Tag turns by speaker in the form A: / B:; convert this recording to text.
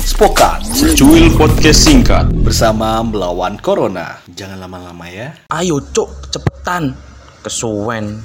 A: Spokat
B: Cuil Podcast Singkat
A: bersama melawan corona. Jangan lama-lama ya.
C: Ayo cuk, cepetan. Kesuwen.